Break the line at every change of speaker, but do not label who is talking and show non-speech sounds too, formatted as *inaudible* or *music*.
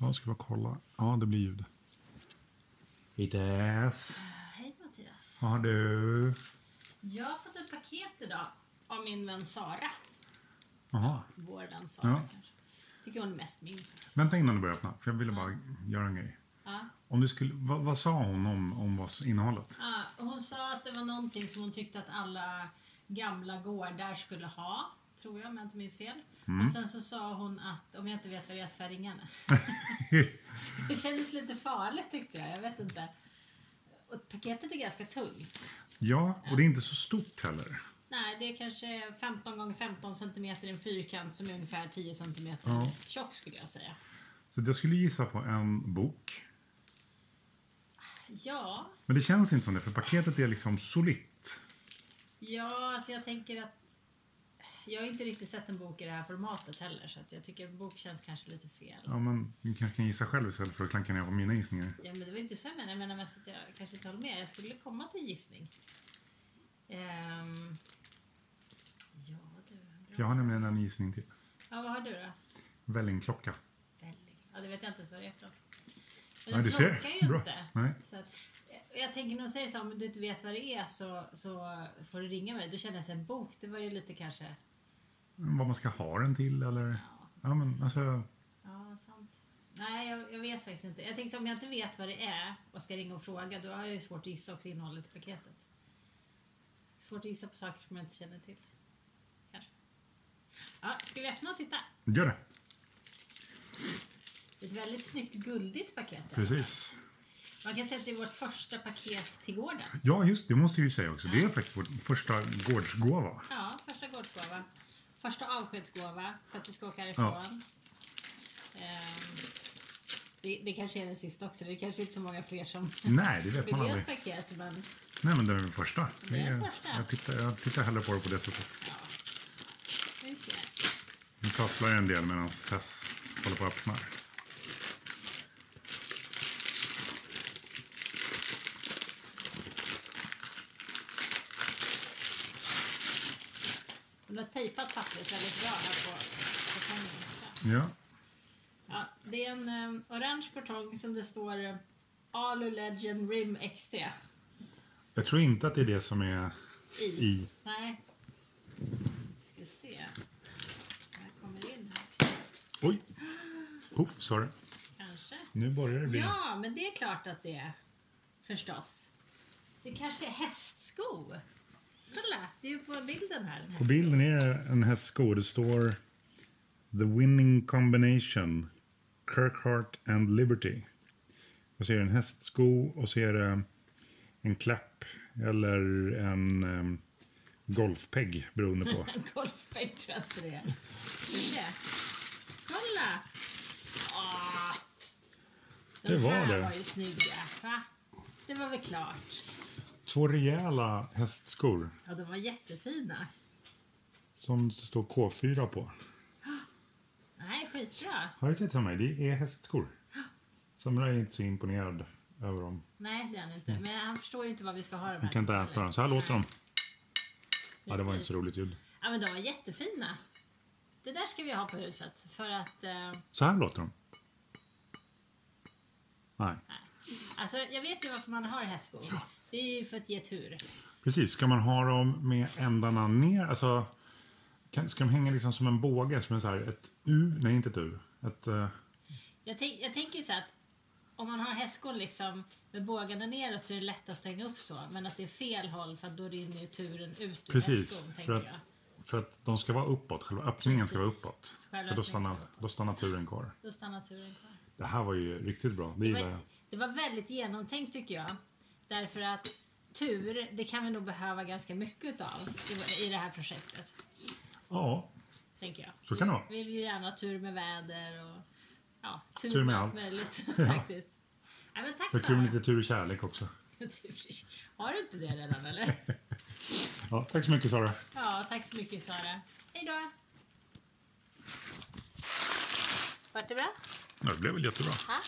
Jag ska bara kolla. Ja, det blir ljud. Ides.
Hej Mattias.
Ja, du.
Jag har fått ett paket idag av min vän Sara.
Aha.
Vår vän Sara
Ja.
kanske. Tycker hon är mest min. faktiskt.
Vänta innan du börjar öppna, för jag ville bara göra en grej.
Ja.
Om du skulle, vad, vad sa hon om, om vad innehållet?
Ja, hon sa att det var någonting som hon tyckte att alla gamla gårdar skulle ha. Tror jag om jag inte minns fel.
Mm.
Och sen så sa hon att om jag inte vet vad det är så får jag
*laughs*
ringa henne. det kändes lite farligt tyckte jag. Jag vet inte. Och paketet är ganska tungt.
Ja, och det är inte så stort heller.
Nej, det är kanske 15 gånger 15 centimeter i en fyrkant som är ungefär 10 centimeter
Ja.
tjock skulle jag säga.
Så jag skulle gissa på en bok.
Ja,
Men det känns inte som det, för paketet är liksom solitt.
ja alltså jag tänker att jag har inte riktigt sett en bok i det här formatet heller så att jag tycker att bok känns kanske lite fel.
Ja, men du kanske kan gissa själv istället för att klanka ner på mina gissningar.
Ja, men det var inte så jag menade. Jag menar mest att jag kanske inte håller med. Jag skulle komma till gissning. Ehm, ja, du.
Jag
Bra.
har nämligen en gissning till.
Ja, vad har du då?
Vällingklocka.
Välling. Ja, det vet jag inte ens vad det är för något.
Nej,
Men den
du ser.
plockar ju
Bra.
inte.
Nej.
Så att, eh, jag tänker när de säger så här, om du inte vet vad det är så, så får du ringa mig. Då känner jag så här, bok, det var ju lite kanske...
Vad man ska ha den till eller...
Ja,
Ja, men alltså...
Ja, sant. Nej, jag, jag vet faktiskt inte. Jag tänkte om jag inte vet vad det är och ska ringa och fråga, då har jag ju svårt att gissa också innehållet i paketet. Svårt att gissa på saker som jag inte känner till. Kanske. Ja, ska vi öppna och titta?
Gör det.
Det är ett väldigt snyggt guldigt paket.
Precis.
Man kan säga att det är vårt första paket till gården.
Ja, just det. måste jag ju säga också. Det är faktiskt vår första gårdsgåva.
Ja, första gårdsgåva. Första avskedsgåva för att vi ska åka härifrån. Ehm, det, det kanske är den sista också. Det är kanske inte så många fler som
Nej, det vet
vill
man
ha ett
aldrig.
paket. Men...
Nej, men det är den första.
Det är den
Det är-
första.
Jag tittar, jag tittar hellre på det på det sättet.
Ja. Vi ser.
Nu tasslar jag en del medan Tess håller på och öppnar.
Hon har tejpat pappret väldigt bra här på kartongen.
Ja.
Ja, det är en eh, orange kartong som det står eh, Alu Legend Rim XT
Jag tror inte att det är det som är
i.
i.
Nej. Vi ska se. Jag kommer in här.
Oj! Puff, sa det.
Kanske.
Nu börjar det bli...
Ja, men det är klart att det är. Förstås. Det kanske är hästsko. Kolla, det är ju på bilden här. en
På
hästsko.
bilden är det en hästsko. Det står The Winning Combination, Kirkheart and Liberty. Och så är det en hästsko och så är det en klapp eller en um, golfpegg beroende på.
*laughs* En golfbänk tror jag inte det är. Kanske. Kolla! Åh. De
Det var
här
det.
var ju snygga. Va? Det var väl klart.
*laughs* Två rejäla hästskor
Ja, de var jättefina.
som det står K4 på.
Nej, skitbra.
Har du tittat på mig? Det är hästskor. Samurai är inte så imponerad över dem.
Nej, det är han inte. Men han förstår ju inte vad vi ska ha dem här.
Man kan inte äta dem. Så här låter de. Ja, det var inte
Precis.
så roligt ljud.
Ja, men de var jättefina. Det där ska vi ha på huset. För att... Eh,
Så här låter de. Nej.
alltså, jag vet ju varför man har hästskor. Det är ju för att ge tur.
Precis, ska man ha dem med ändarna ner? Alltså, kan, ska de hänga liksom som en båge? Som en så här, ett U? Nej, inte ett U. Ett, eh,
Jag, tänk, jag tänker så att om man har hästskon liksom med bågarna neråt så är det lätt att stänga upp så. Men att det är fel håll för att då rinner ju turen ut ur
precis,
hästskon.
för
tänker jag.
att, för att de ska vara uppåt. Själva öppningen ska vara
Precis.
uppåt.
Själva
För då
öppningen ska
stannar,
vara uppåt.
då stannar turen kvar.
Då stannar turen kvar.
Det här var ju riktigt bra. Det
Det
gillar jag.
var, det var väldigt genomtänkt tycker jag. Därför att tur, det kan vi nog behöva ganska mycket utav i, i det här projektet.
Ja,
Tänker jag.
Så kan det vara.
Vi vill ju gärna ha tur med väder och ja, tur,
Tur med
allt
allt.
möjligt.
*laughs* Ja.
faktiskt. Ja, men
det
tack
är kul med
Sara.
lite tur och kärlek också.
*laughs* Har du inte det redan eller?
Ja, tack så mycket Sara.
Ja, tack så mycket Sara. Hej då! Vart det bra?
Ja, det blev väl jättebra.
Ja,